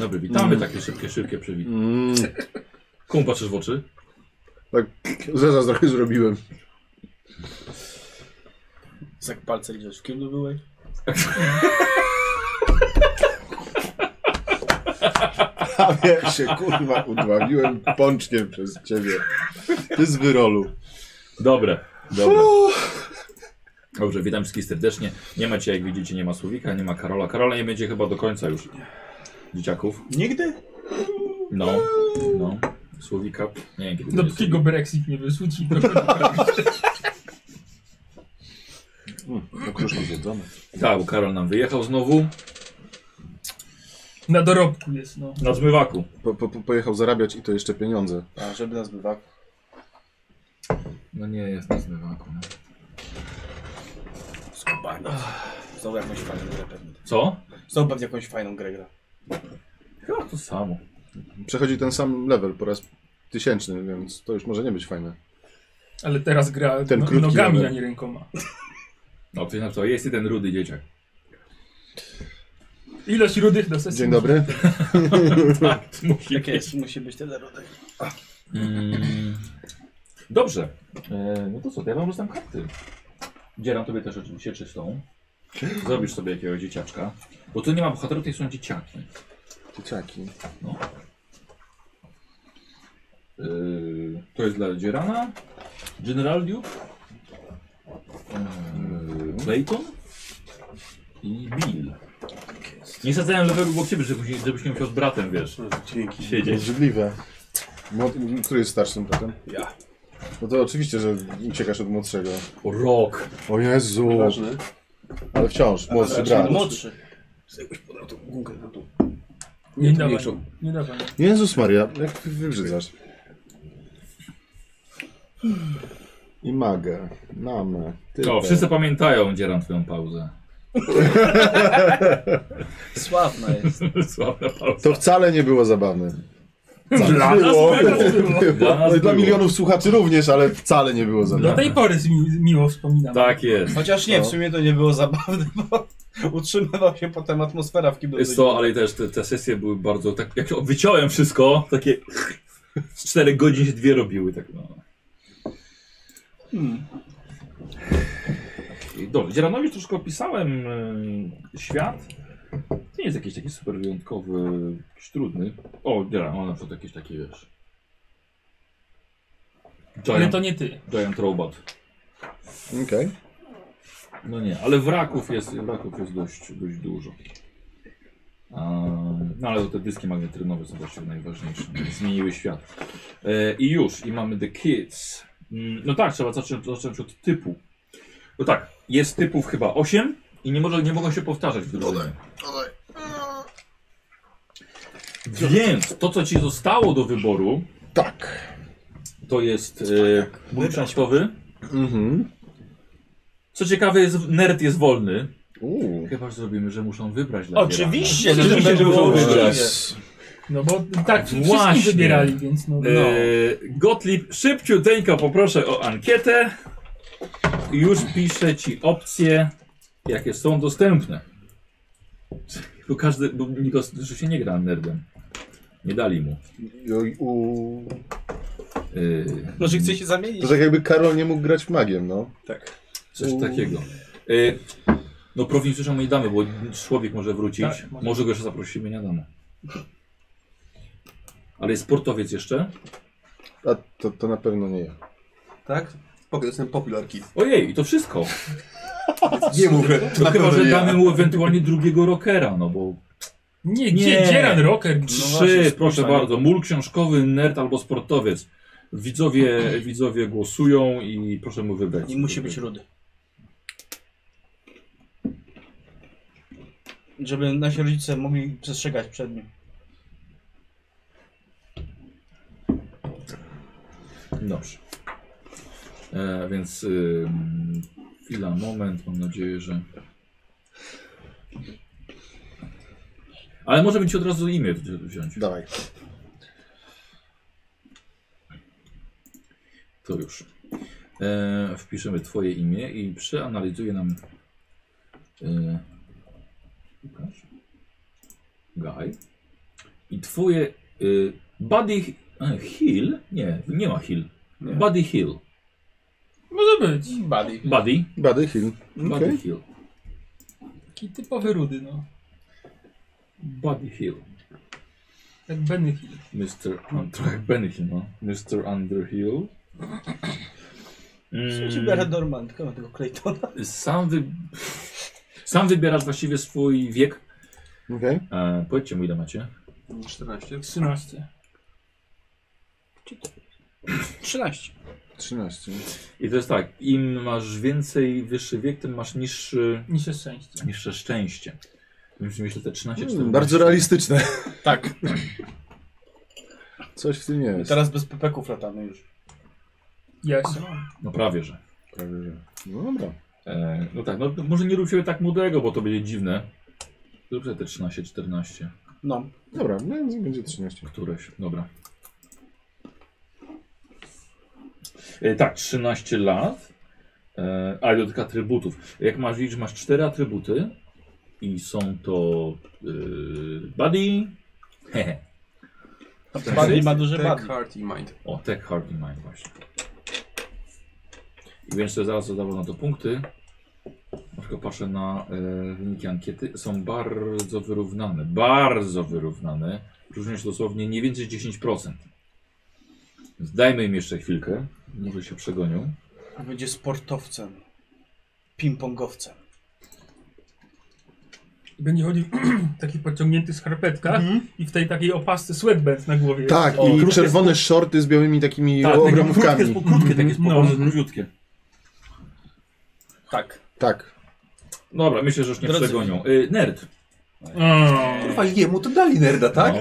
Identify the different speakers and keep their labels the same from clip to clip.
Speaker 1: Dobry, witamy. Takie szybkie, szybkie przywitanie.
Speaker 2: Mm,
Speaker 1: Komu patrzysz w oczy?
Speaker 2: tak, zaraz trochę zrobiłem.
Speaker 3: Jak palce gdzieś w kiblu byłeś?
Speaker 2: Prawie się kurwa udławiłem pącznie przez ciebie. Ty z wyrolu.
Speaker 1: Dobre, dobre. Dobrze, witam wszystkich serdecznie. Nie ma cię, jak widzicie, nie ma Słowika, nie ma Karola. Karola nie będzie chyba do końca już dzieciaków.
Speaker 3: Nigdy?
Speaker 1: No, no. Słowika, nie wiem kiedy będzie
Speaker 4: Dopóki go No, Brexit nie wysłuci, to
Speaker 2: Okruszki zjedzone.
Speaker 1: Słowik. Tak, bo Karol nam wyjechał znowu
Speaker 4: na dorobku jest, no.
Speaker 1: na zmywaku.
Speaker 2: Po, po, po, pojechał zarabiać i to jeszcze pieniądze.
Speaker 3: A, żeby nas bywa.
Speaker 1: No nie jest na zmywaku. No.
Speaker 3: Skubaniec. Znowu jakąś fajną grę pewnie.
Speaker 1: Co?
Speaker 3: Znowu pewnie jakąś fajną grę gra.
Speaker 1: Chyba to samo.
Speaker 2: Przechodzi ten sam level po raz tysięczny, więc to już może nie być fajne.
Speaker 4: Ale teraz gra
Speaker 2: Ten
Speaker 4: no,
Speaker 2: krótki
Speaker 4: nogami,
Speaker 2: rower.
Speaker 4: a nie rękoma.
Speaker 1: No to, to jest i ten rudy dzieciak.
Speaker 4: Ilość rudych do sesji.
Speaker 2: Dzień dobry.
Speaker 1: Tak, musi
Speaker 3: Jak jest, musi być tyle rodek.
Speaker 1: Mm. Dobrze. E, no to co, to ja wam rzucam karty. Dzieram tobie też oczywiście czystą. Zrobisz sobie jakiegoś dzieciaczka. Bo tu nie ma bohaterów, to są dzieciaki. No.
Speaker 2: Dzieciaki.
Speaker 1: E, to jest dla Dzierana. General Duke. E, Clayton. I Bill. Nie sadzałem lewego obok ciebie, żebyś, żebyś nie musiał z bratem, wiesz,
Speaker 3: Dzięki.
Speaker 1: siedzieć.
Speaker 2: Możliwe. Młod- Który jest starszym bratem?
Speaker 1: Ja.
Speaker 2: No to oczywiście, że uciekasz od młodszego.
Speaker 1: O, Rok.
Speaker 2: O Jezu.
Speaker 5: Ważny.
Speaker 2: Ale wciąż, młodszy brat.
Speaker 3: Młodszy.
Speaker 4: Nie,
Speaker 5: Nie, to
Speaker 4: dawaj.
Speaker 5: mniejszą.
Speaker 4: Nie dawaj.
Speaker 2: Jezus Maria, jak ty wybrzydzasz. I magę, namę, typę.
Speaker 1: O, wszyscy pamiętają, Dzieran, twoją pauzę.
Speaker 3: Sławna jest.
Speaker 1: Sławna pauza.
Speaker 2: To wcale nie było zabawne.
Speaker 1: Dla nas
Speaker 2: Było.
Speaker 4: było.
Speaker 1: Dla nas
Speaker 2: No i
Speaker 1: było.
Speaker 2: dla milionów słuchaczy również, ale wcale nie było
Speaker 4: Do
Speaker 2: zabawne.
Speaker 4: tej pory z mi, miło wspominam.
Speaker 1: Tak jest.
Speaker 3: Chociaż nie, w sumie to nie było zabawne, bo utrzymywał się potem atmosfera w kiblu.
Speaker 1: Jest to, ale też te, te sesje były bardzo, tak jak wyciąłem wszystko, takie z 4 godzin się dwie robiły, tak no.
Speaker 3: Hmm.
Speaker 1: I Dobrze, Dzieranowi troszkę opisałem e, świat. To nie jest jakiś taki super wyjątkowy, jakiś trudny. O, Dzieran, o na przykład jakiś taki, wiesz.
Speaker 4: Ale
Speaker 1: Giant,
Speaker 4: to nie ty.
Speaker 1: giant Robot.
Speaker 2: Okej.
Speaker 1: No nie, ale wraków jest, wraków jest dość, dość dużo. Ehm, No ale te dyski magnetrynowe są właściwie najważniejsze. Zmieniły świat. E, I już, i mamy The Kids. Mm, No tak, trzeba zacząć, zacząć od typu. No tak, jest typów chyba 8 i nie, może, nie mogą się powtarzać w drużynie. Więc to, co ci zostało do wyboru,
Speaker 2: Tak.
Speaker 1: to jest e, ból książkowy.
Speaker 2: Mhm.
Speaker 1: Co ciekawe, jest, nerd jest wolny.
Speaker 2: Uuu.
Speaker 1: Chyba że zrobimy, że muszą wybrać dla
Speaker 3: Oczywiście,
Speaker 1: Dzierana. Oczywiście, że
Speaker 3: żeby
Speaker 1: muszą
Speaker 3: było
Speaker 1: wybrać.
Speaker 3: uczciwie.
Speaker 4: No bo tak
Speaker 1: Właśnie.
Speaker 4: wszystkim wybierali, więc no. no.
Speaker 1: Eee, Gottlieb, szybciuteńko poproszę o ankietę. Już piszę ci opcje, jakie są dostępne. Bo każdy, bo nikt że się nie gra nerdem. Nie dali mu.
Speaker 2: Oj, u.
Speaker 1: Eee,
Speaker 3: Może chce się zamienić?
Speaker 2: To tak jakby Karol nie mógł grać w magiem, no.
Speaker 3: Tak.
Speaker 1: coś takiego. Eee, no prowincjuszom nie damy, bo człowiek może wrócić.
Speaker 4: Tak,
Speaker 1: może.
Speaker 4: może.
Speaker 1: go jeszcze zaprosimy, nie damy. Ale jest sportowiec jeszcze.
Speaker 2: A to, to na pewno nie ja.
Speaker 5: Tak? Spoko, to jestem popular kid.
Speaker 1: Ojej, i to wszystko.
Speaker 5: Nie mówię.
Speaker 1: No chyba, że damy mu ewentualnie drugiego rockera, no bo
Speaker 4: nie,
Speaker 1: nie.
Speaker 4: gdzie Dzieran Rocker?
Speaker 1: Trzy,
Speaker 3: właśnie,
Speaker 1: proszę
Speaker 3: spójrzmy.
Speaker 1: bardzo. Mul książkowy, nerd albo sportowiec. Widzowie, widzowie głosują i proszę mu wybrać.
Speaker 3: I musi być rudy. Żeby nasi rodzice mogli przestrzegać przed nim.
Speaker 1: Dobrze. E, więc ym, chwila, moment. Mam nadzieję, że. Ale może być od razu imię wzi- wziąć.
Speaker 2: Dawaj.
Speaker 1: To już. E, wpiszemy Twoje imię i przeanalizuje nam. E, Łukasz? Gaj. twoje y, body e, heal, nie, nie ma heal,
Speaker 3: Nie.
Speaker 1: body heal,
Speaker 4: Może być.
Speaker 3: Buddy.
Speaker 1: body,
Speaker 2: Bady Hill.
Speaker 1: body
Speaker 2: Okej.
Speaker 1: heal,
Speaker 4: Taki typowy rudy, no.
Speaker 1: body heal,
Speaker 4: Jak Benny Hill.
Speaker 1: Mr. Under, Benhill, no, Mr. Underhill. Mm,
Speaker 3: Słuchajcie, biorę dormantkę na tego Claytona.
Speaker 1: sam, wy... sam wybierasz właściwie swój wiek.
Speaker 2: Okej.
Speaker 1: E, powiedzcie mu ile macie.
Speaker 5: 14.
Speaker 4: 13.
Speaker 3: 13.
Speaker 2: 13.
Speaker 1: I to jest tak, im masz więcej wyższy wiek, tym masz niższy,
Speaker 4: Niż jest szczęście.
Speaker 1: niższe szczęście. Więc Myślę, te 13
Speaker 2: Mm,
Speaker 1: 14.
Speaker 2: bardzo realistyczne.
Speaker 3: Hmm. Tak.
Speaker 2: Coś w tym
Speaker 3: I
Speaker 2: jest.
Speaker 3: teraz bez pepeków latamy już.
Speaker 4: Ja jeszcze mam.
Speaker 1: No prawie, że.
Speaker 2: Prawie, że. No dobra.
Speaker 1: E, no tak, no to może nie rób siebie tak młodego, bo to będzie dziwne. Zrób sobie te 13, 14,
Speaker 3: No.
Speaker 2: Dobra, no więc będzie 13.
Speaker 1: któreś, dobra. E, tak, 13 lat. E, a i do tych atrybutów. Jak masz liczb, masz 4 atrybuty. I są to e, body, hehe,
Speaker 3: Buddy ma duże
Speaker 4: Tak.
Speaker 5: Tech,
Speaker 3: buddy.
Speaker 5: heart i mind.
Speaker 1: O, Tech Hard in Mind właśnie. I więc to zaraz dodawał na to punkty. Na przykład patrzę na e, wyniki ankiety. Są bardzo wyrównane. Bardzo wyrównane. Różnią się dosłownie nie więcej 10%. Więc dajmy im jeszcze chwilkę. Może się przegonią.
Speaker 3: Będzie sportowcem. Ping-pongowcem.
Speaker 4: I Będzie chodził w takich podciągniętych skarpetkach i w tej takiej opasce sweatband na głowie.
Speaker 2: Mhm. Tak,
Speaker 3: O,
Speaker 2: i
Speaker 3: krótkie no,
Speaker 2: czerwone shorty z białymi takimi
Speaker 1: Tak, takie krótkie,
Speaker 2: obramówkami.
Speaker 1: spo- krótkie takie
Speaker 4: No.
Speaker 1: spokojne, króciutkie.
Speaker 3: Tak.
Speaker 2: Tak.
Speaker 1: Dobra, myślę, że już nie
Speaker 3: Drodzy-
Speaker 1: przegonią. Y, nerd.
Speaker 2: No.
Speaker 4: Eee.
Speaker 5: Kurwa, jemu to dali nerda, tak?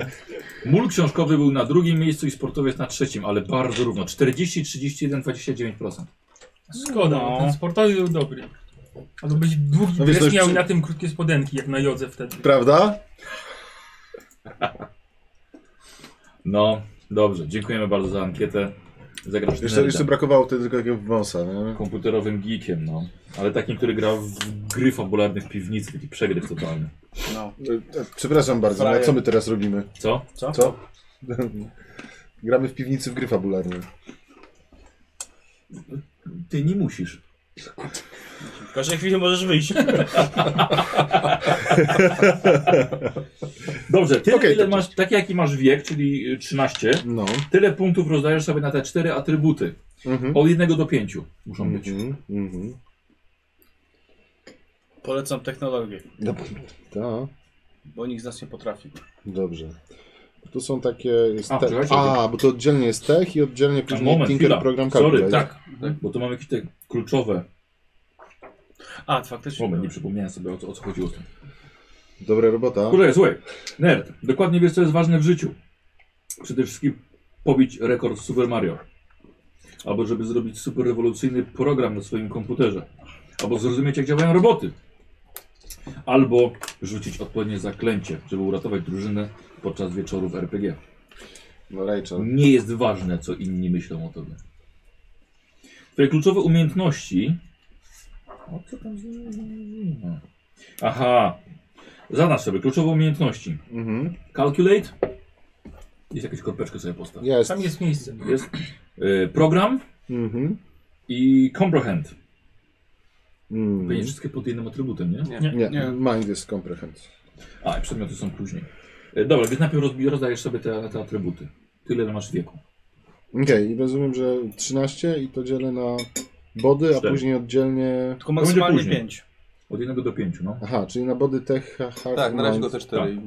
Speaker 1: No. Mól książkowy był na drugim miejscu i sportowiec na trzecim, ale bardzo równo. 40, 31, 29%.
Speaker 4: Szkoda,
Speaker 3: No.
Speaker 4: bo ten sportowy był dobry. A to byś długi
Speaker 2: No
Speaker 4: no
Speaker 2: wiesz, to już
Speaker 4: miał
Speaker 2: przy-
Speaker 4: i na tym krótkie spodenki, jak na jodze wtedy.
Speaker 2: Prawda?
Speaker 1: No, dobrze. Dziękujemy bardzo za ankietę. Zagrasz
Speaker 2: Jeszcze,
Speaker 1: nerdem,
Speaker 2: jeszcze brakowało wtedy tylko takiego wąsa, nie?
Speaker 1: komputerowym geekiem, no. Ale takim, który gra w gry fabularne w piwnicy, taki przegryw totalny.
Speaker 3: No.
Speaker 2: E, e, Przepraszam bardzo, ale
Speaker 3: Frajer.
Speaker 2: co my teraz robimy?
Speaker 1: Co?
Speaker 3: Co?
Speaker 2: Co? Gramy w piwnicy w gry fabularne.
Speaker 1: Ty nie musisz.
Speaker 3: W każdej chwili możesz wyjść.
Speaker 1: Dobrze, tyle
Speaker 2: Okej,
Speaker 1: ile
Speaker 2: to
Speaker 1: masz, tak jaki masz wiek, czyli y, 13,
Speaker 2: No.
Speaker 1: tyle punktów rozdajesz sobie na te cztery atrybuty.
Speaker 2: Mhm.
Speaker 1: Od jednego do pięciu muszą być.
Speaker 2: Mhm. Mhm.
Speaker 3: Polecam technologię,
Speaker 2: No, Tak.
Speaker 3: bo nikt z nas nie potrafi.
Speaker 2: Dobrze. Tu są takie... Jest
Speaker 1: A,
Speaker 2: te...
Speaker 1: czekajcie,
Speaker 2: A, bo to oddzielnie jest tech i oddzielnie
Speaker 1: A,
Speaker 2: później
Speaker 1: moment,
Speaker 2: Tinker
Speaker 1: chwila.
Speaker 2: Program
Speaker 1: Sorry,
Speaker 2: Calculator.
Speaker 1: tak. Bo to mam jakieś te kluczowe.
Speaker 3: A, faktycznie.
Speaker 1: Moment, nie przypomniałem sobie o co, o co chodziło z tym.
Speaker 2: Dobra robota.
Speaker 1: Kurze, słuchaj, nerd, dokładnie wiesz, co jest ważne w życiu. Przede wszystkim pobić rekord w Super Mario. Albo żeby zrobić super rewolucyjny program na swoim komputerze. Albo zrozumieć, jak działają roboty. Albo rzucić odpowiednie zaklęcie, żeby uratować drużynę podczas wieczorów RPG.
Speaker 2: No Rachel.
Speaker 1: Nie jest ważne, co inni myślą o tobie. Twoje kluczowe umiejętności. O, co tam z... Aha. Zadasz sobie kluczowe umiejętności.
Speaker 2: Mhm.
Speaker 1: Calculate. Jest jakieś korpeczkę sobie postaw.
Speaker 2: Jest.
Speaker 4: Tam jest miejsce.
Speaker 1: Jest y, program
Speaker 2: Mhm.
Speaker 1: i comprehend.
Speaker 2: Mm.
Speaker 1: Pewnie wszystkie pod jednym atrybutem, nie?
Speaker 5: Nie.
Speaker 2: Nie,
Speaker 3: Nie.
Speaker 2: mind jest comprehend.
Speaker 1: A, i przedmioty są później. Y, dobra, więc najpierw rozbi- rozdajesz sobie te, te atrybuty. Tyle ile masz wieku.
Speaker 2: Okej, i rozumiem, że 13 i to dzielę na body, a
Speaker 1: Cztery.
Speaker 2: później oddzielnie...
Speaker 3: Tylko
Speaker 1: będzie
Speaker 3: maksymalnie
Speaker 1: później.
Speaker 3: 5.
Speaker 1: Od jednego do pięciu, no.
Speaker 2: Aha, czyli na body tech, ha- hard
Speaker 5: Tak, na razie
Speaker 2: mind.
Speaker 5: go te cztery.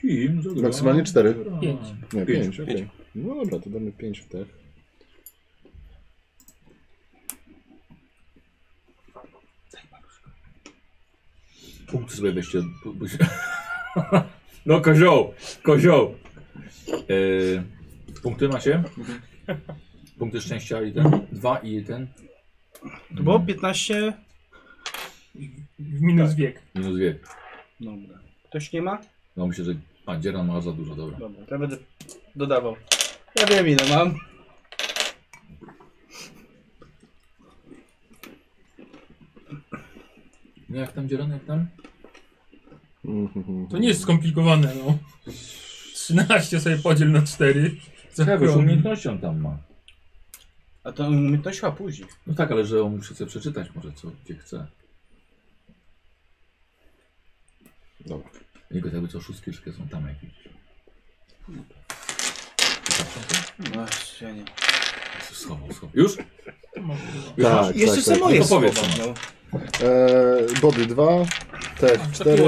Speaker 1: Kim? Zagra?
Speaker 2: Maksymalnie cztery.
Speaker 4: Pięć.
Speaker 2: Nie,
Speaker 1: Pięć.
Speaker 2: 5, okej. No dobra, to damy 5 w tech.
Speaker 1: Punkty sobie weźcie. bo- bo się- No kozioł, kozioł. Yy, punkty macie? Punkty szczęścia i ten. Dwa i ten.
Speaker 3: To
Speaker 1: Mhm.
Speaker 3: było 15.
Speaker 4: W minus
Speaker 2: Tak.
Speaker 4: wiek.
Speaker 1: Minus dwie.
Speaker 3: Dobra. Ktoś nie ma?
Speaker 1: No myślę, że a dzieran ma za dużo, dobra.
Speaker 3: Dobra, to ja będę dodawał. Ja wiem ile mam.
Speaker 1: No jak tam dzielone, jak tam?
Speaker 4: To nie jest skomplikowane, no. 13 sobie podziel na 4.
Speaker 1: Jakąś umiejętnością tam ma.
Speaker 3: A to umiejętność chyba później.
Speaker 1: No tak, ale że on musi sobie przeczytać może co, gdzie chce.
Speaker 2: Dobra.
Speaker 1: Jego jakby co szóstkieszkę są tam jakieś.
Speaker 3: No, ja nie.
Speaker 1: Schował, schował. Już?
Speaker 2: Tak,
Speaker 3: Jeszcze
Speaker 2: tak,
Speaker 3: se
Speaker 2: tak.
Speaker 3: moje
Speaker 1: No to powiedz,
Speaker 3: słowa,
Speaker 1: no.
Speaker 3: no.
Speaker 2: Eee, body 2, tech 4,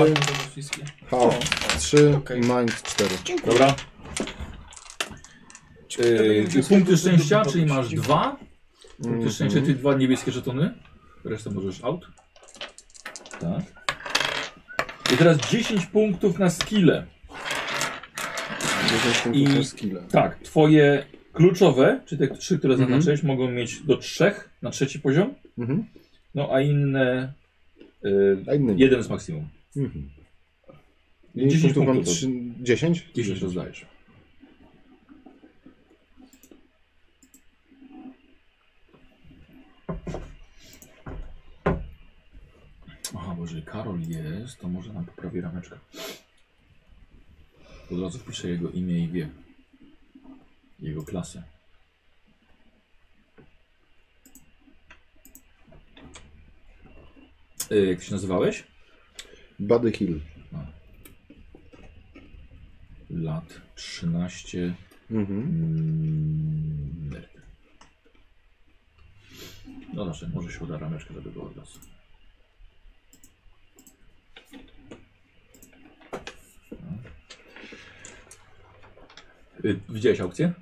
Speaker 4: wszystkie.
Speaker 2: health 3,
Speaker 3: Okej.
Speaker 2: mind 4.
Speaker 1: no. Dobra. Yy,
Speaker 3: będzie
Speaker 1: punkty
Speaker 3: sobie
Speaker 1: szczęścia,
Speaker 3: dupy
Speaker 1: czyli
Speaker 3: robić.
Speaker 1: masz dwa. Punkty
Speaker 2: Mhm.
Speaker 1: szczęścia, czyli dwa niebieskie żetony. Resztę możesz out. Tak. I teraz 10 punktów na skille.
Speaker 2: 10 punktów
Speaker 1: I-
Speaker 2: na skille.
Speaker 1: Tak, twoje kluczowe, czy te trzy, które zaznaczyłeś, mogą mieć do trzech na trzeci poziom.
Speaker 2: Mhm.
Speaker 1: No a inne. Yy,
Speaker 2: A inny nie.
Speaker 1: jeden z maksimum.
Speaker 2: Mhm.
Speaker 1: 10
Speaker 2: 10 punktów mam
Speaker 1: punktów.
Speaker 2: 3, 10?
Speaker 1: 10 rozdajesz. Aha, bo jeżeli Karol jest, to może nam poprawi rameczkę. Od razu wpiszę jego imię i wiek. Jego klasę. Y, Jak się nazywałeś?
Speaker 2: Body heal.
Speaker 1: Lat 13.
Speaker 2: Mhm.
Speaker 1: Mm, nerd. No dobrze, może się uda rameczkę, żeby było od razu. Y, Widziałeś aukcję?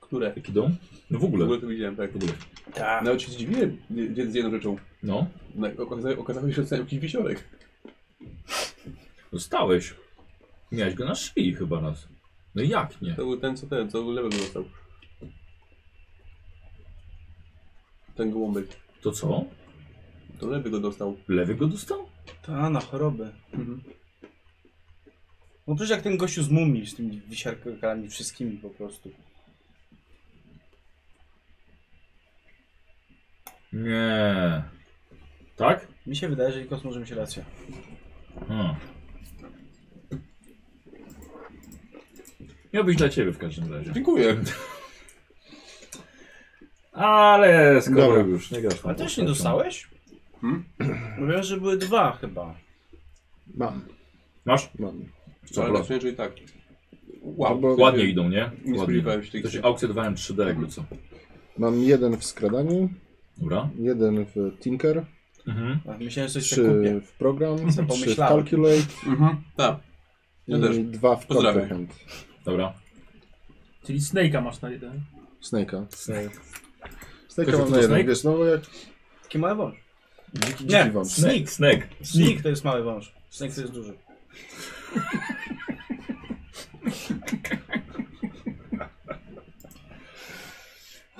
Speaker 5: Które?
Speaker 1: Jaki dom? No w
Speaker 5: W
Speaker 1: ogóle.
Speaker 5: ogóle to widziałem, tak.
Speaker 1: W ogóle.
Speaker 3: Tak.
Speaker 5: Nawet się zdziwiłem nie- nie- z jedną rzeczą.
Speaker 1: No,
Speaker 5: Na- okaza- Okazało się, że dostałem jakiś wisiorek.
Speaker 1: dostałeś. Miałeś go na szyi chyba raz. No jak nie?
Speaker 5: To był ten, co ten, co lewy dostał. Ten gołąbek.
Speaker 1: To co?
Speaker 5: To lewy go dostał.
Speaker 1: Lewy go dostał?
Speaker 3: Ta, na chorobę. No przecież jak ten gościu z mumii, z tymi wisiarkami wszystkimi po prostu.
Speaker 1: Nie. Tak?
Speaker 3: Mi się wydaje, że Nikos może mieć rację.
Speaker 1: Hmm. Miał być dla ciebie w każdym razie.
Speaker 5: Dziękuję.
Speaker 1: Ale skoro
Speaker 2: Dobra.
Speaker 1: już nie grasz. no
Speaker 3: A
Speaker 1: tą
Speaker 3: też nie
Speaker 1: postacią.
Speaker 3: dostałeś?
Speaker 5: Hmm?
Speaker 3: Mówiłem, że były dwa chyba.
Speaker 2: Mam,
Speaker 1: Masz?
Speaker 2: mam.
Speaker 1: Co,
Speaker 5: Ale
Speaker 1: bro?
Speaker 5: na szczęście i tak. Wow.
Speaker 2: Bo-
Speaker 1: Ładnie idą, nie?
Speaker 5: Nie
Speaker 1: Ładnie.
Speaker 5: spodziewałem się tych
Speaker 1: To się aukcje 3D jakby co.
Speaker 2: Mam jeden w skradaniu,
Speaker 1: Dobra.
Speaker 2: jeden w tinker,
Speaker 1: Mhm.
Speaker 3: A, myślałem, że coś się kupię.
Speaker 2: trzy w program,
Speaker 3: Co
Speaker 2: trzy w
Speaker 3: pomyślałem.
Speaker 2: calculate
Speaker 5: Mhm, tak. Ja też.
Speaker 2: i dwa w
Speaker 5: Pozdrawiam.
Speaker 2: comprehend.
Speaker 1: Dobra.
Speaker 4: Czyli Snake'a masz na jeden.
Speaker 2: Snake'a.
Speaker 1: Snake.
Speaker 2: Snake'a
Speaker 1: Kościół
Speaker 2: mam
Speaker 1: to
Speaker 2: na jeden,
Speaker 1: snake?
Speaker 2: wiesz, no bo jak
Speaker 3: Taki mały wąż.
Speaker 2: dziki,
Speaker 3: Nie.
Speaker 2: dziki wam.
Speaker 1: Snake. Snake.
Speaker 3: Snik to jest mały wąż. Snik to jest duży.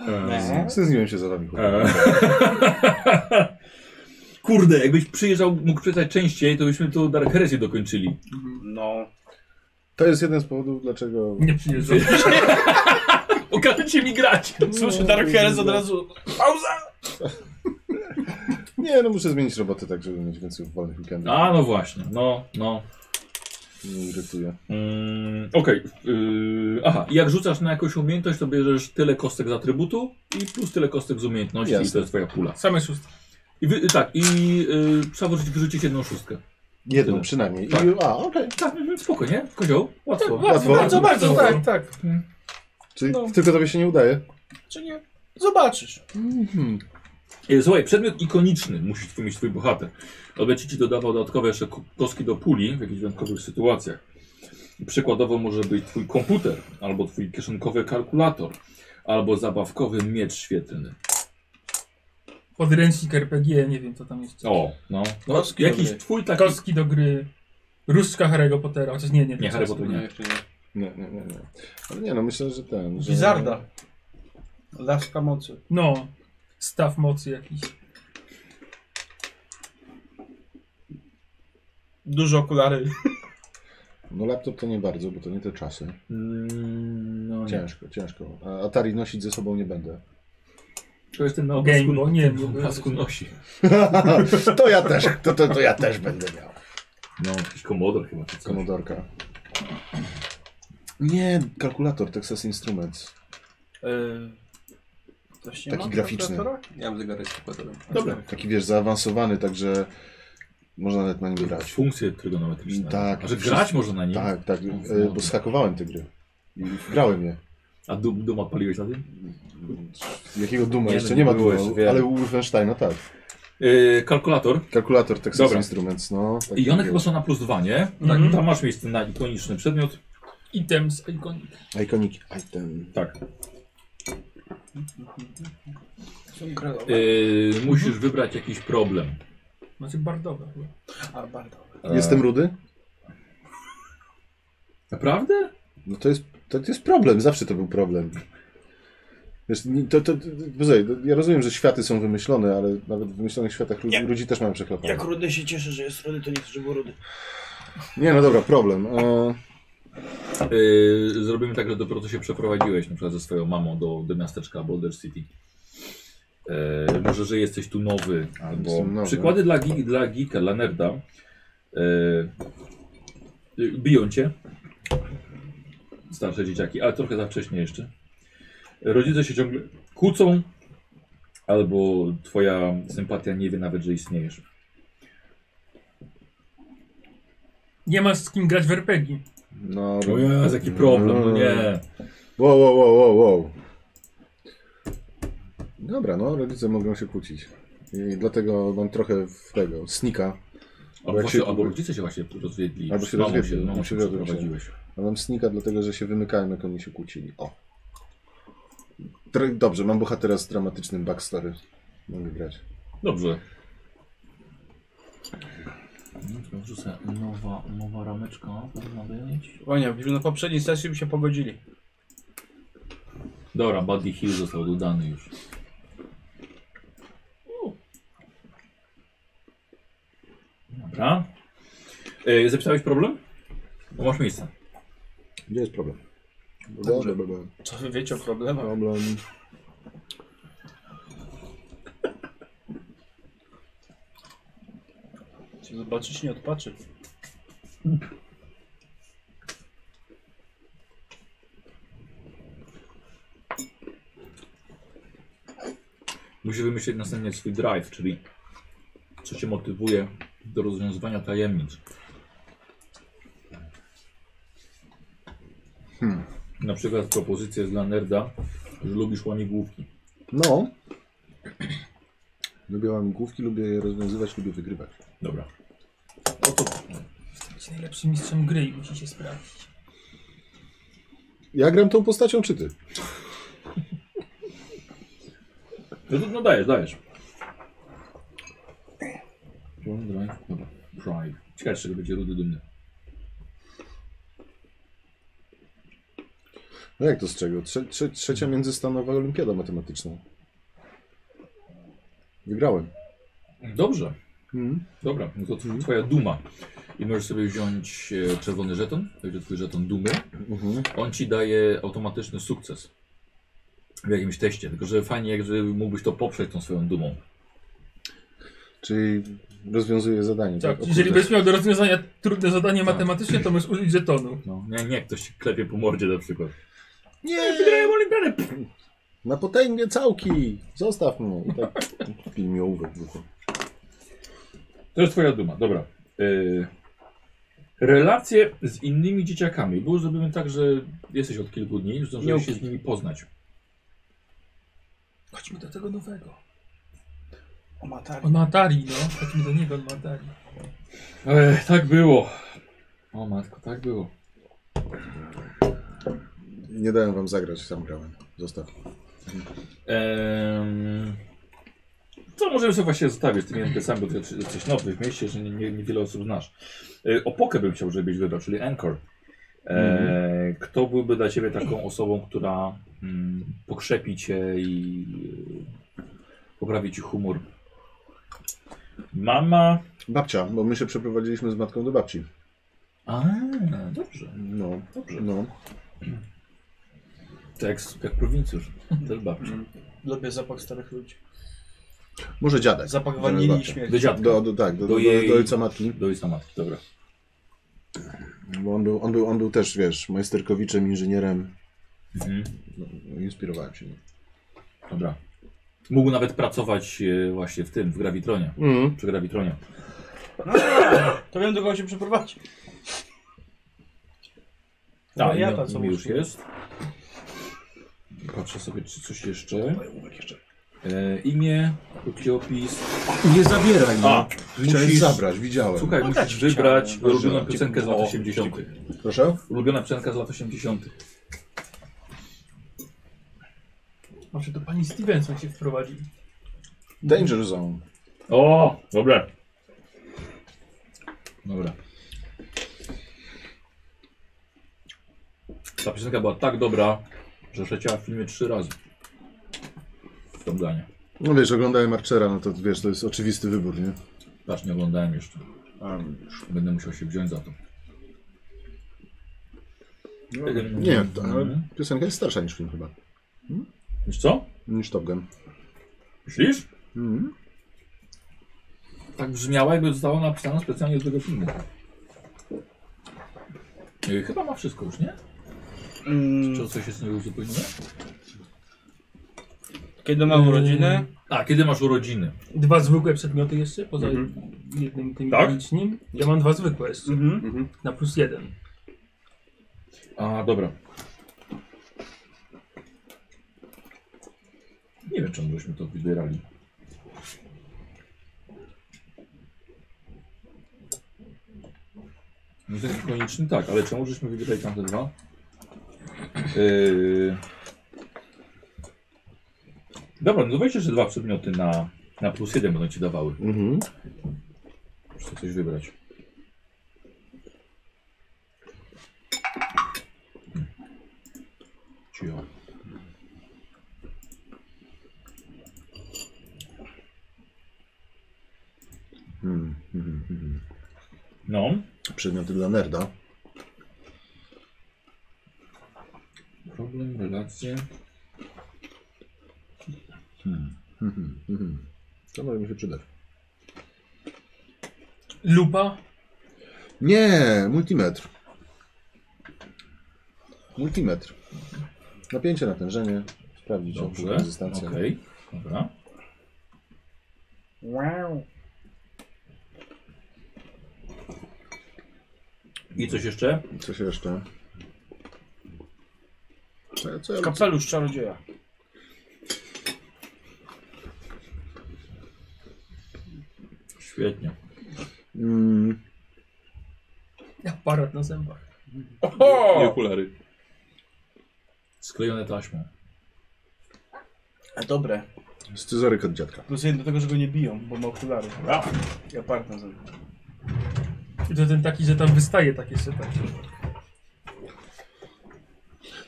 Speaker 1: Eee.
Speaker 2: Wstydziłem się za wami.
Speaker 1: Eee. Kurde, jakbyś przyjeżdżał, mógł przyjeżdżać częściej, to byśmy tu Dark Heresy dokończyli.
Speaker 3: No.
Speaker 2: To jest jeden z powodów, dlaczego...
Speaker 4: Nie przyjeżdżam.
Speaker 1: Okażecie mi grać.
Speaker 3: Słyszę Dark Heresy od razu. Pauza!
Speaker 2: Nie, no muszę zmienić roboty tak, żeby mieć więcej wolnych weekendów.
Speaker 1: A no właśnie, no, no.
Speaker 2: Mnie irytuje.
Speaker 1: Mm, Okej. Yy, aha, i jak rzucasz na jakąś umiejętność, to bierzesz tyle kostek z atrybutu i plus tyle kostek z umiejętności i
Speaker 2: Jasne.
Speaker 1: to jest twoja pula.
Speaker 4: Same szóstki.
Speaker 1: I wy, tak, i yy, trzeba wyrzucić, wyrzucić jedną szóstkę.
Speaker 2: Jedną
Speaker 1: Tyle.
Speaker 2: przynajmniej.
Speaker 1: Tak.
Speaker 2: I, a, okej.
Speaker 1: Tak, spoko, nie? Kozioł? Łatwo.
Speaker 2: Łatwo.
Speaker 4: Bardzo, bardzo.
Speaker 3: Tak, tak.
Speaker 2: Czyli
Speaker 3: No.
Speaker 2: tylko tobie się nie udaje.
Speaker 3: Czy nie? Zobaczysz.
Speaker 1: Yy, Słuchaj, przedmiot ikoniczny musi twój- mieć twój bohater. Ale będzie ci dodawał dodatkowe jeszcze ko- kostki do puli w jakichś wyjątkowych sytuacjach. Przykładowo może być twój komputer, albo twój kieszonkowy kalkulator, albo zabawkowy miecz świetlny.
Speaker 4: Podręcznik RPG, nie wiem co tam jeszcze.
Speaker 1: O, no. no
Speaker 3: Kostki
Speaker 1: jakiś
Speaker 3: robię.
Speaker 1: twój taki...
Speaker 4: Kostki do gry. Różdżka Harry'ego Pottera, chociaż nie, nie.
Speaker 1: Nie, Harry Potter
Speaker 5: Nie,
Speaker 1: nie.
Speaker 5: jeszcze nie.
Speaker 2: Nie, nie, nie, nie. Ale nie, no myślę, że ten... Że...
Speaker 3: Wizarda. Laska mocy.
Speaker 4: No. Staw mocy jakiś.
Speaker 3: Duże okulary.
Speaker 2: No laptop to nie bardzo, bo to nie te czasy.
Speaker 1: Mm, No nie.
Speaker 2: Ciężko, ciężko. A Atari nosić ze sobą nie będę.
Speaker 1: To jest ten na
Speaker 4: Game,
Speaker 1: obrazku, no,
Speaker 4: nie
Speaker 1: nie,
Speaker 4: wiem,
Speaker 1: na obrazku nosi.
Speaker 2: To ja też, to, to, to ja też będę miał.
Speaker 1: No, jakiś komodor chyba czy coś.
Speaker 2: Komodorka. Nie, kalkulator, Texas Instruments.
Speaker 3: E, Ktoś nie
Speaker 2: Taki
Speaker 3: ma
Speaker 2: graficzny.
Speaker 3: kalkulatora?
Speaker 5: Ja mam zegarek z kalkulatorem.
Speaker 1: Dobra.
Speaker 2: Taki wiesz, zaawansowany, także można nawet na nim grać.
Speaker 1: Funkcje trygonometryczne.
Speaker 2: Tak.
Speaker 1: A że grać można na nim?
Speaker 2: Tak, tak,
Speaker 1: No,
Speaker 2: e, bo zhakowałem te gry. I grałem je.
Speaker 1: A dum, duma paliłeś na tym?
Speaker 2: Jakiego duma?
Speaker 1: Nie,
Speaker 2: Jeszcze
Speaker 1: no
Speaker 2: nie ma
Speaker 1: było,
Speaker 2: duma,
Speaker 1: wiem.
Speaker 2: ale u Wolfensteina tak.
Speaker 1: Yy, kalkulator.
Speaker 2: Kalkulator Texas
Speaker 1: Dobra.
Speaker 2: Instruments, no. tak Mhm.
Speaker 1: I one
Speaker 2: było.
Speaker 1: chyba są na plus dwa, nie?
Speaker 4: Tak.
Speaker 1: Tam masz miejsce na ikoniczny przedmiot.
Speaker 4: Items, iconic.
Speaker 2: Iconic item.
Speaker 1: Tak.
Speaker 3: Są kredowe.
Speaker 1: Yy,
Speaker 2: Mhm.
Speaker 1: musisz wybrać jakiś problem.
Speaker 4: Macie znaczy bardowe chyba.
Speaker 3: A, bardzo.
Speaker 1: E.
Speaker 2: Jestem rudy?
Speaker 1: Naprawdę?
Speaker 2: No to jest, to, to jest problem, zawsze to był problem. Wiesz, nie- to, to, to, posłuchaj, to- ja rozumiem, że światy są wymyślone, ale nawet w wymyślonych światach ludzi,
Speaker 6: Jak-
Speaker 2: ludzi też mamy przeklepane.
Speaker 6: Jak rudy się cieszę, że jest rudy, to nie chcę, żeby był rudy.
Speaker 2: Nie, no dobra, problem. E,
Speaker 1: Yy, zrobimy tak, że dopiero co się przeprowadziłeś, na przykład ze swoją mamą do, do miasteczka Boulder City. Yy, może, że jesteś tu nowy, albo
Speaker 2: Jestem nowy.
Speaker 1: przykłady dla, gi- dla geeka, dla nerda. Yy, yy, biją cię. Starsze dzieciaki, ale trochę za wcześnie jeszcze. Rodzice się ciągle kłócą, albo twoja sympatia nie wie nawet, że istniejesz.
Speaker 4: Nie masz z kim grać w RPG.
Speaker 2: no,
Speaker 1: O Jezu, jaki problem, no nie.
Speaker 2: Wow, wow, wow, wow, wow. Dobra, no, rodzice mogą się kłócić. I dlatego mam trochę w tego, snika.
Speaker 1: Albo,
Speaker 2: jak
Speaker 1: się,
Speaker 2: się-
Speaker 1: albo rodzice się właśnie rozwiedli.
Speaker 2: Albo
Speaker 1: z
Speaker 2: się
Speaker 1: mamą
Speaker 2: rozwiedli,
Speaker 1: no,
Speaker 2: no,
Speaker 1: się
Speaker 2: się rozwiedli.
Speaker 1: przeprowadziłeś.
Speaker 2: A mam snika, dlatego że się wymykałem, jak oni się kłócili. O. Tr- Dobrze, mam bohatera z dramatycznym backstory. Mogę grać.
Speaker 1: Dobrze. No, Wrzucę nowa, nowa rameczka, powinna być.
Speaker 3: Wania, na poprzedniej sesji by się pogodzili.
Speaker 1: Dobra, Buddy Hill został dodany już. Dobra. E, zapisałeś problem? No masz miejsce.
Speaker 2: Gdzie jest problem? Dobrze, problem.
Speaker 3: Co wy wiecie o problemach?
Speaker 2: Problem.
Speaker 3: Czy zobaczyć nie odpaczy.
Speaker 1: Musisz wymyślić następnie swój drive, czyli co cię motywuje do rozwiązywania tajemnic. Na przykład propozycja jest dla nerda, że lubisz łamigłówki.
Speaker 2: No. Lubię łamigłówki, lubię je rozwiązywać, lubię wygrywać.
Speaker 1: Dobra. O to
Speaker 4: Jesteś najlepszym mistrzem gry i musi się sprawdzić.
Speaker 2: Ja gram tą postacią, czy ty?
Speaker 1: No, to- no dajesz, dajesz. Drive, drive, dobra. Drive. Ciekawe, czy będzie rudy dumny.
Speaker 2: No jak to z czego? Trze trze trzecia międzystanowa olimpiada matematyczna. Wygrałem.
Speaker 1: Dobrze. Dobra, no to tw- twoja duma. I możesz sobie wziąć e, czerwony żeton, także twój żeton dumy.
Speaker 2: Mhm.
Speaker 1: On ci daje automatyczny sukces w jakimś teście. Tylko, że fajnie, jakby mógłbyś to poprzeć tą swoją dumą.
Speaker 2: Czyli rozwiązuję zadanie.
Speaker 4: Tak,
Speaker 2: Tak, O
Speaker 4: jeżeli
Speaker 2: kurde.
Speaker 4: byś miał do rozwiązania trudne zadanie
Speaker 1: No, Tak.
Speaker 4: matematyczne, to możesz użyć żetonu.
Speaker 1: No, nie, nie, ktoś ci klepie po mordzie na przykład.
Speaker 2: Nie!
Speaker 1: Wygrałem olimpiadę!
Speaker 2: Na potęgę całki! Zostaw mnie! I tak pij mi ołówek w ucho.
Speaker 1: To jest twoja duma, dobra. Y, relacje z innymi dzieciakami. Było zrobimy tak, że jesteś od kilku dni, już zdążyłeś się z nimi poznać.
Speaker 4: Chodźmy do tego nowego.
Speaker 3: O matari.
Speaker 4: On ma Atari, no. Chodźmy do niego, on ma Atari.
Speaker 1: Ech, tak było. O matko, tak było.
Speaker 2: Nie dałem wam zagrać, sam grałem. Zostaw.
Speaker 1: Em, co możemy sobie właśnie zostawić z tymi NPC-ami, bo ty jesteś- jesteś nowy w mieście, że nie- nie- niewiele osób znasz. E, Opokę bym chciał, żebyś wybrał, czyli Anchor. E, Kto byłby dla ciebie taką osobą, która mm, pokrzepi cię i e, poprawi ci humor? Mama.
Speaker 2: Babcia, bo my się przeprowadziliśmy z matką do babci.
Speaker 1: A, dobrze.
Speaker 2: No,
Speaker 1: Dobrze.
Speaker 2: no.
Speaker 1: Tak jak, jak prowincjusz, też babcia.
Speaker 3: Lubię zapach starych ludzi.
Speaker 2: Może dziadek.
Speaker 3: Zapach
Speaker 2: Dobra,
Speaker 3: wanili i
Speaker 2: babcia.
Speaker 1: Do
Speaker 3: śmierci.
Speaker 1: dziadka.
Speaker 2: Do, do, tak, do,
Speaker 1: Do
Speaker 2: do,
Speaker 1: jej-
Speaker 2: do ojca matki.
Speaker 1: Do ojca matki, dobra.
Speaker 2: Bo on był, on, był, on był też, wiesz, majsterkowiczem, inżynierem.
Speaker 1: Mhm.
Speaker 2: No, inspirowałem się. nim.
Speaker 1: Dobra. Mógł nawet pracować e, właśnie w tym, w grawitronie.
Speaker 2: Mhm.
Speaker 1: Przy grawitronie.
Speaker 3: No, to wiem do kogo się przeprowadzi.
Speaker 1: A,
Speaker 3: No
Speaker 6: Tak,
Speaker 3: ja
Speaker 6: no,
Speaker 1: imię-
Speaker 3: tam są
Speaker 1: imię Tak, już
Speaker 3: już.
Speaker 1: jest. Patrzę sobie, czy coś jeszcze. E, imię, krótki opis.
Speaker 2: Nie zabieraj mnie.
Speaker 1: A,
Speaker 2: Chciałeś
Speaker 1: musisz-
Speaker 2: no. zabrać, widziałem.
Speaker 1: Słuchaj,
Speaker 3: No dać
Speaker 1: musisz
Speaker 3: chciałem. no.
Speaker 1: wybrać
Speaker 2: Proszę.
Speaker 1: ulubioną piosenkę z lat
Speaker 5: O,
Speaker 1: 80.
Speaker 2: Proszę?
Speaker 1: Ulubiona piosenka z lat 80.
Speaker 4: Może to pani Stevenson się wprowadzi.
Speaker 2: Danger Zone.
Speaker 1: O, dobre. Dobra. Ta piosenka była tak dobra, że przecięła w filmie trzy razy. W Top Gunie.
Speaker 2: No wiesz, oglądałem Archera, no to wiesz, to jest oczywisty wybór, nie?
Speaker 1: Patrz, nie oglądałem jeszcze.
Speaker 2: Um,
Speaker 1: Będę musiał się wziąć za to. Yy,
Speaker 2: Nie, to, ale
Speaker 1: Mhm.
Speaker 2: piosenka jest starsza niż film chyba.
Speaker 1: Wiesz co?
Speaker 2: Niż Top Gun.
Speaker 1: Myślisz?
Speaker 2: Mhm.
Speaker 1: Tak brzmiała, jakby została napisana specjalnie do tego filmu. Yy, Chyba ma wszystko już, nie?
Speaker 3: Mm,
Speaker 1: Czy coś jest nie uzupełnione?
Speaker 3: Kiedy mam
Speaker 4: Mm.
Speaker 3: urodziny?
Speaker 1: A, kiedy masz urodziny?
Speaker 4: Dwa zwykłe przedmioty jeszcze, poza jednym tym
Speaker 1: Mhm. Tak?
Speaker 4: licznym. Ja mam dwa zwykłe jeszcze,
Speaker 3: Mhm.
Speaker 4: na plus jeden.
Speaker 1: A, dobra. Nie wiem, czemu żeśmy to wybierali. No to jest konieczny, tak, ale czemu żeśmy wybierali tamte dwa? Yy... Dobra, no weź jeszcze dwa przedmioty na, na plus jeden będą ci dawały.
Speaker 2: Mhm.
Speaker 1: Muszę coś wybrać. Hmm. Cicho.
Speaker 2: Mhm. Mhm. Mhm.
Speaker 1: No.
Speaker 2: Przedmioty dla nerda.
Speaker 1: Problem, relacje.
Speaker 2: Mhm. Mhm. To może mi się przydać.
Speaker 4: Lupa,
Speaker 2: Nie, multimetr. Multimetr. Napięcie, natężenie. Sprawdzić
Speaker 1: Dobrze. Okej.
Speaker 2: rezystancję.
Speaker 1: Dobra.
Speaker 3: Wow.
Speaker 1: I coś jeszcze?
Speaker 2: Coś jeszcze? Co, ja- co ja
Speaker 3: Kapelusz czarodzieja.
Speaker 1: Świetnie.
Speaker 2: mm,
Speaker 4: aparat na zębach.
Speaker 5: I
Speaker 3: Oho!
Speaker 5: okulary.
Speaker 1: Sklejone taśmą.
Speaker 3: A dobre.
Speaker 2: Scyzoryk od dziadka.
Speaker 3: Plus jeden do tego, że go nie biją, bo ma okulary.
Speaker 1: Brawo.
Speaker 3: Ja partner ze mną.
Speaker 4: I to ten taki, że tam wystaje takie się tak.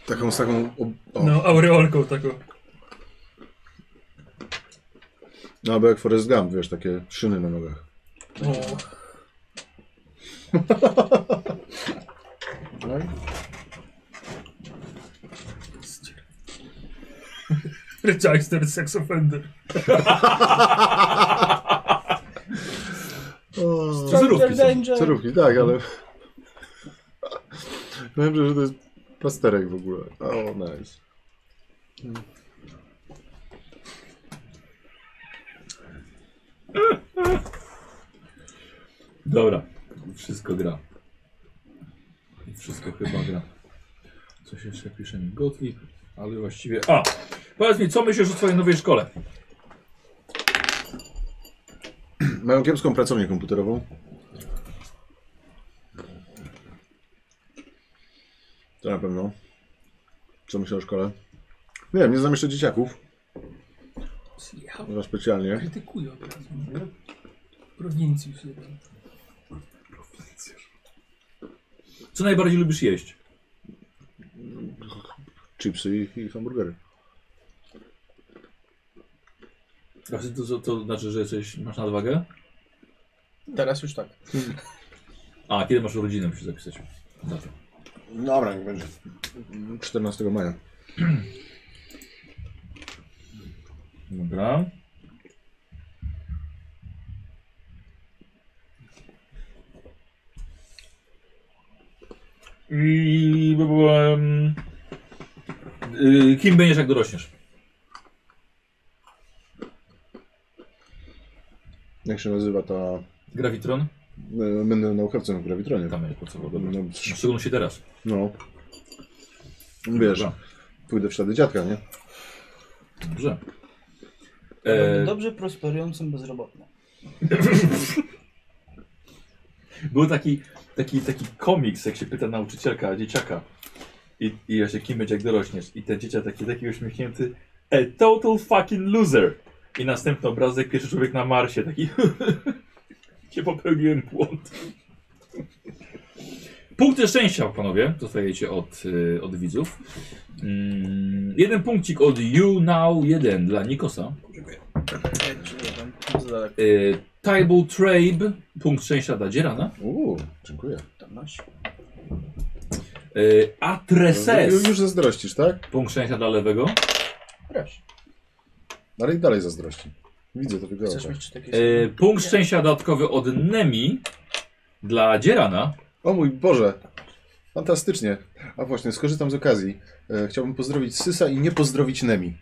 Speaker 2: Taką, z taką... O, o. No.
Speaker 4: No, aureolką taką.
Speaker 2: No, albo jak Forrest Gump, wiesz, takie szyny na nogach.
Speaker 4: O,
Speaker 2: No i
Speaker 4: Ryczajster, sex offender.
Speaker 2: O,
Speaker 1: Zerówki są.
Speaker 2: Cerówki, tak, ale... Wiem, że to jest plasterek w ogóle. O, nice.
Speaker 1: Dobra. Wszystko gra. I Wszystko chyba gra. Coś jeszcze pisze mi Gottlieb, ale właściwie... A! Powiedz mi, co myślisz o swojej nowej szkole?
Speaker 2: Mają kiepską pracownię komputerową. To na pewno. Co myślę o szkole? Nie wiem, nie znam jeszcze dzieciaków.
Speaker 4: Przyjechał,
Speaker 2: Chyba specjalnie.
Speaker 4: krytykuje od razu. Prowincji już jeden.
Speaker 1: Co najbardziej lubisz jeść?
Speaker 2: Chipsy i, i hamburgery.
Speaker 1: Właśnie to, to, to znaczy, że jesteś, masz nadwagę?
Speaker 3: Teraz już tak.
Speaker 1: A, kiedy masz urodziny, musisz zapisać. Dobra.
Speaker 2: Dobra, niech będzie. 14 maja.
Speaker 1: Dobra. I by było, em, y, kim będziesz, jak dorośniesz?
Speaker 2: Jak się nazywa ta...
Speaker 1: Grawitron?
Speaker 2: e, Będę naukowcem w Gravitronie.
Speaker 1: Tam będziesz pracował, dobra.
Speaker 2: No, psz,
Speaker 1: Szczególnie się teraz.
Speaker 2: no. Wiesz,
Speaker 1: Dobra.
Speaker 2: pójdę w ślady dziadka, nie?
Speaker 1: Dobrze.
Speaker 6: Będę
Speaker 1: E,
Speaker 6: Dobrze prosperującym bezrobotnym.
Speaker 1: Był taki, taki, taki komiks, jak się pyta nauczycielka dzieciaka i, i właśnie kim będzie jak dorośniesz. I ten dzieciak taki, taki uśmiechnięty a total fucking loser. I następny obrazek, pierwszy człowiek na Marsie, taki się popełniłem błąd. Punkty szczęścia, panowie, dostajecie od, y, od widzów. Mm, jeden punkcik od You Now 1 dla Nikosa.
Speaker 3: Nie, czy nie wiem. Za daleko.
Speaker 1: Y, Table Trabe, punkt szczęścia dla Dzierana.
Speaker 2: Uuu, dziękuję.
Speaker 3: Tam masz.
Speaker 1: Y,
Speaker 2: Ju-
Speaker 1: Atreses,
Speaker 2: Już zazdrościsz, tak?
Speaker 1: punkt szczęścia dla lewego.
Speaker 3: Proszę.
Speaker 2: Ale i dalej zazdrości. Widzę to wygląda.
Speaker 3: Chcesz mieć czy takie
Speaker 1: E, punkt szczęścia dodatkowy od Nemi dla Dzierana.
Speaker 2: O mój Boże! Fantastycznie. A właśnie, skorzystam z okazji. E, chciałbym pozdrowić Sysa i nie pozdrowić Nemi.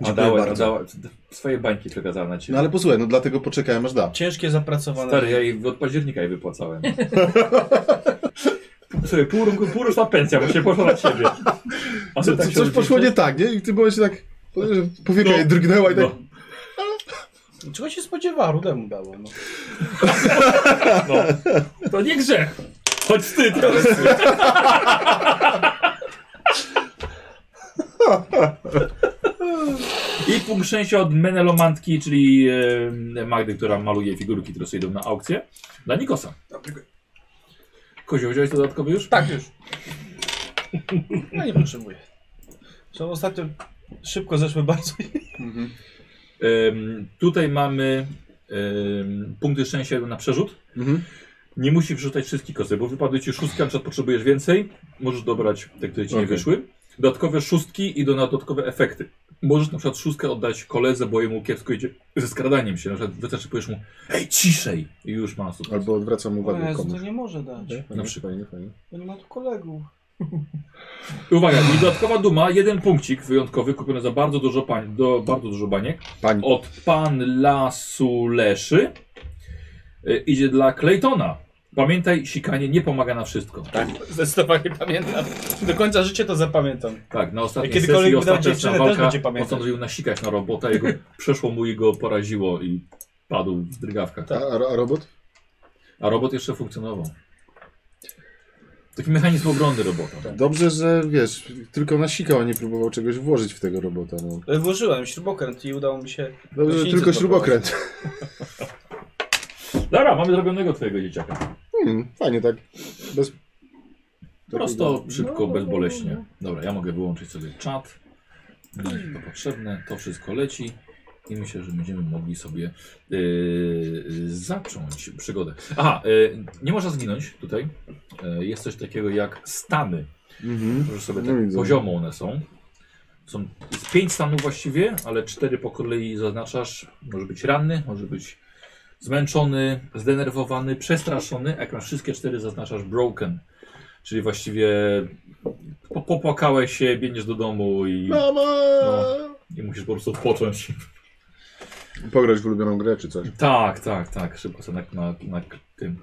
Speaker 1: A
Speaker 2: Dziękuję
Speaker 1: dała, a
Speaker 2: bardzo.
Speaker 1: dała, swoje bańki przekazała na ciebie.
Speaker 2: No ale posłuchaj, no dlatego poczekałem aż da.
Speaker 3: Ciężkie
Speaker 2: No,
Speaker 3: zapracowane.
Speaker 1: Stary, ja jej od października jej wypłacałem. Słuchaj, pół roku, pół roczna pensja, bo się poszła na ciebie. A
Speaker 2: Co,
Speaker 1: ty tak
Speaker 2: coś
Speaker 1: się
Speaker 2: poszło
Speaker 1: odwdzięczasz?
Speaker 2: nie tak, nie? I ty byłeś tak... że Powieka jej drgnęła i tak...
Speaker 3: Czego się spodziewała? Rudemu dało. No.
Speaker 4: No. To nie grzech.
Speaker 1: Chodź wstyd! I punkt szczęścia od menelomantki, czyli e, Magdy, która maluje figurki, które sobie idą na aukcję, dla Nikosa. Kozio, wziąłeś dodatkowy już?
Speaker 3: Tak już. No nie potrzebuję. Są ostatnio szybko zeszły bardzo.
Speaker 1: Em, tutaj mamy em, punkty szczęścia na przerzut.
Speaker 2: Mhm.
Speaker 1: Nie musi przerzucać wszystkich kostek, bo wypadły ci szóstka, na przykład potrzebujesz więcej, możesz dobrać te, które ci nie
Speaker 2: Okej.
Speaker 1: wyszły. Dodatkowe szóstki idą na dodatkowe efekty. Możesz na przykład szóstkę oddać koledze, bo jemu kiepsko idzie ze skradaniem się. Na przykład wytarczypujesz mu, ej ciszej! I już ma sukces.
Speaker 2: Albo odwracam
Speaker 6: O
Speaker 2: uwagę
Speaker 6: Jezu, to
Speaker 2: komuś.
Speaker 6: nie może dać.
Speaker 1: Na przykład.
Speaker 2: Fajnie, fajnie.
Speaker 6: Bo nie ma tu kolegów.
Speaker 1: Uwaga, i dodatkowa duma, jeden punkcik wyjątkowy, kupiony za bardzo dużo, pań, do, bardzo dużo baniek.
Speaker 2: Pani.
Speaker 1: od pan lasu leszy y, idzie dla Claytona. Pamiętaj, sikanie nie pomaga na wszystko. Tak,
Speaker 3: Zdecydowanie pamiętam. Do końca życia to zapamiętam.
Speaker 1: Tak, na
Speaker 3: Ja
Speaker 1: ostatniej
Speaker 3: kiedykolwiek
Speaker 1: sesji
Speaker 3: będę
Speaker 1: ostateczna
Speaker 3: dziewczynę, też
Speaker 1: walka
Speaker 3: będzie pamiętać.
Speaker 1: postanowił nasikać na robota, jego przeszło mu i go poraziło i padł w drgawkach.
Speaker 2: A, a, a robot?
Speaker 1: A robot jeszcze funkcjonował. Taki mechanizm obronny robota.
Speaker 2: Dobrze, że wiesz, tylko nasikał, a nie próbował czegoś włożyć w tego robota. No.
Speaker 3: E, Włożyłem śrubokręt i udało mi się.
Speaker 2: Dobrze, że
Speaker 3: Gaśnicę
Speaker 2: tylko
Speaker 3: zblokować.
Speaker 2: śrubokręt.
Speaker 1: Dobra, mamy zrobionego twojego dzieciaka.
Speaker 2: Hmm, fajnie tak. Bez...
Speaker 1: Prosto, szybko, bezboleśnie. Dobra, ja mogę wyłączyć sobie czat. Nie jest to potrzebne, to wszystko leci. I myślę, że będziemy mogli sobie yy, zacząć przygodę. Aha, yy, nie można zginąć tutaj. Yy, jest coś takiego jak stany.
Speaker 2: Mhm.
Speaker 1: Może sobie
Speaker 2: No
Speaker 1: tak
Speaker 2: widzę.
Speaker 1: poziomo one są. Są jest pięć stanów właściwie, ale cztery po kolei zaznaczasz. Może być ranny, może być zmęczony, zdenerwowany, przestraszony. Jak masz wszystkie cztery, zaznaczasz broken. Czyli właściwie po- popłakałeś się, biegniesz do domu i,
Speaker 2: Mama!
Speaker 1: No. i musisz po prostu odpocząć.
Speaker 2: Pograć w ulubioną grę czy coś.
Speaker 1: Tak, tak, tak. Szybko sobie na, na, na tym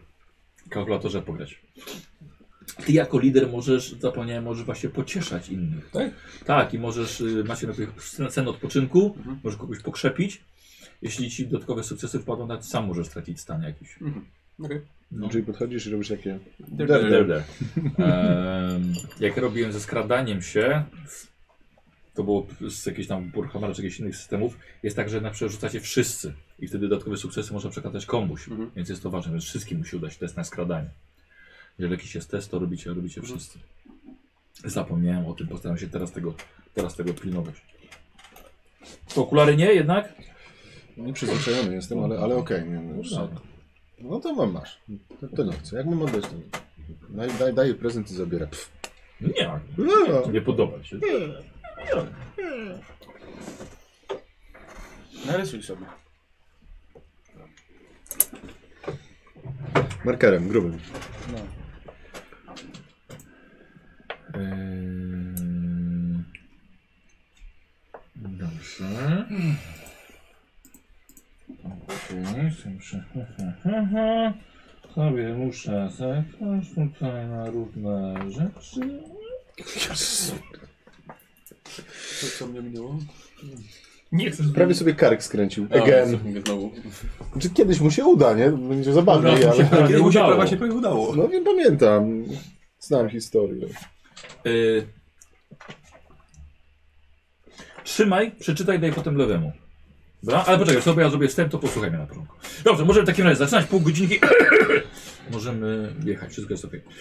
Speaker 1: kalkulatorze pograć. Ty jako lider możesz, zapomniałem, możesz właśnie pocieszać innych.
Speaker 5: Tak?
Speaker 1: Tak, i możesz, y, macie na przykład sen- sen odpoczynku,
Speaker 5: Mhm.
Speaker 1: możesz kogoś pokrzepić. Jeśli ci dodatkowe sukcesy wpadną, nawet sam możesz stracić stan jakiś.
Speaker 5: Mhm. Okej.
Speaker 1: No.
Speaker 2: Czyli podchodzisz i robisz takie...
Speaker 5: Der,
Speaker 2: der, der.
Speaker 1: Tyle. Em, jak robiłem ze skradaniem się, to było z jakichś tam Burhamara czy jakichś innych systemów, jest tak, że na przykład rzucacie wszyscy i wtedy dodatkowe sukcesy można przekazać komuś,
Speaker 5: Mhm.
Speaker 1: więc jest to ważne, więc wszystkim musi udać test na skradanie. Jeżeli jakiś jest test, to robicie, robicie wszyscy. Zapomniałem o tym, postaram się teraz tego, teraz tego pilnować. To okulary nie jednak?
Speaker 2: Nie przyzwyczajony jestem, ale, ale okej. nie, no, już-
Speaker 1: Dobra.
Speaker 2: no to mam masz. To, to nie chcę. Jak mam oddać to nie. Daj, daj, daję prezent i zabiorę. Pff.
Speaker 1: Nie,
Speaker 2: No.
Speaker 1: nie podoba się.
Speaker 3: Narysuj sobie.
Speaker 2: Markerem, grubym.
Speaker 3: No.
Speaker 1: Ehm, Dobrze. Okej, sobie muszę- Sobie muszę zerknąć tutaj na różne rzeczy.
Speaker 5: Co, co mnie minęło?
Speaker 4: Nie chcesz
Speaker 2: Prawie sobie kark skręcił.
Speaker 5: A,
Speaker 2: Again.
Speaker 5: stosunki Znowu.
Speaker 2: Znaczy, kiedyś mu się uda, nie?
Speaker 1: Uda
Speaker 2: Będzie
Speaker 1: mu
Speaker 2: zabawniej,
Speaker 1: się.
Speaker 2: ale...
Speaker 1: Tak,
Speaker 5: Kiedyś mu się
Speaker 1: udało.
Speaker 5: prawie się prawie udało.
Speaker 2: No nie pamiętam. Znam historię.
Speaker 1: Y... Trzymaj, przeczytaj, daj potem lewemu. Dobra? Ale poczekaj, sobie ja zrobię wstęp, to posłuchaj mnie na początku. Dobrze, możemy w takim razie zaczynać pół godzinki. Możemy jechać, wszystko jest ok.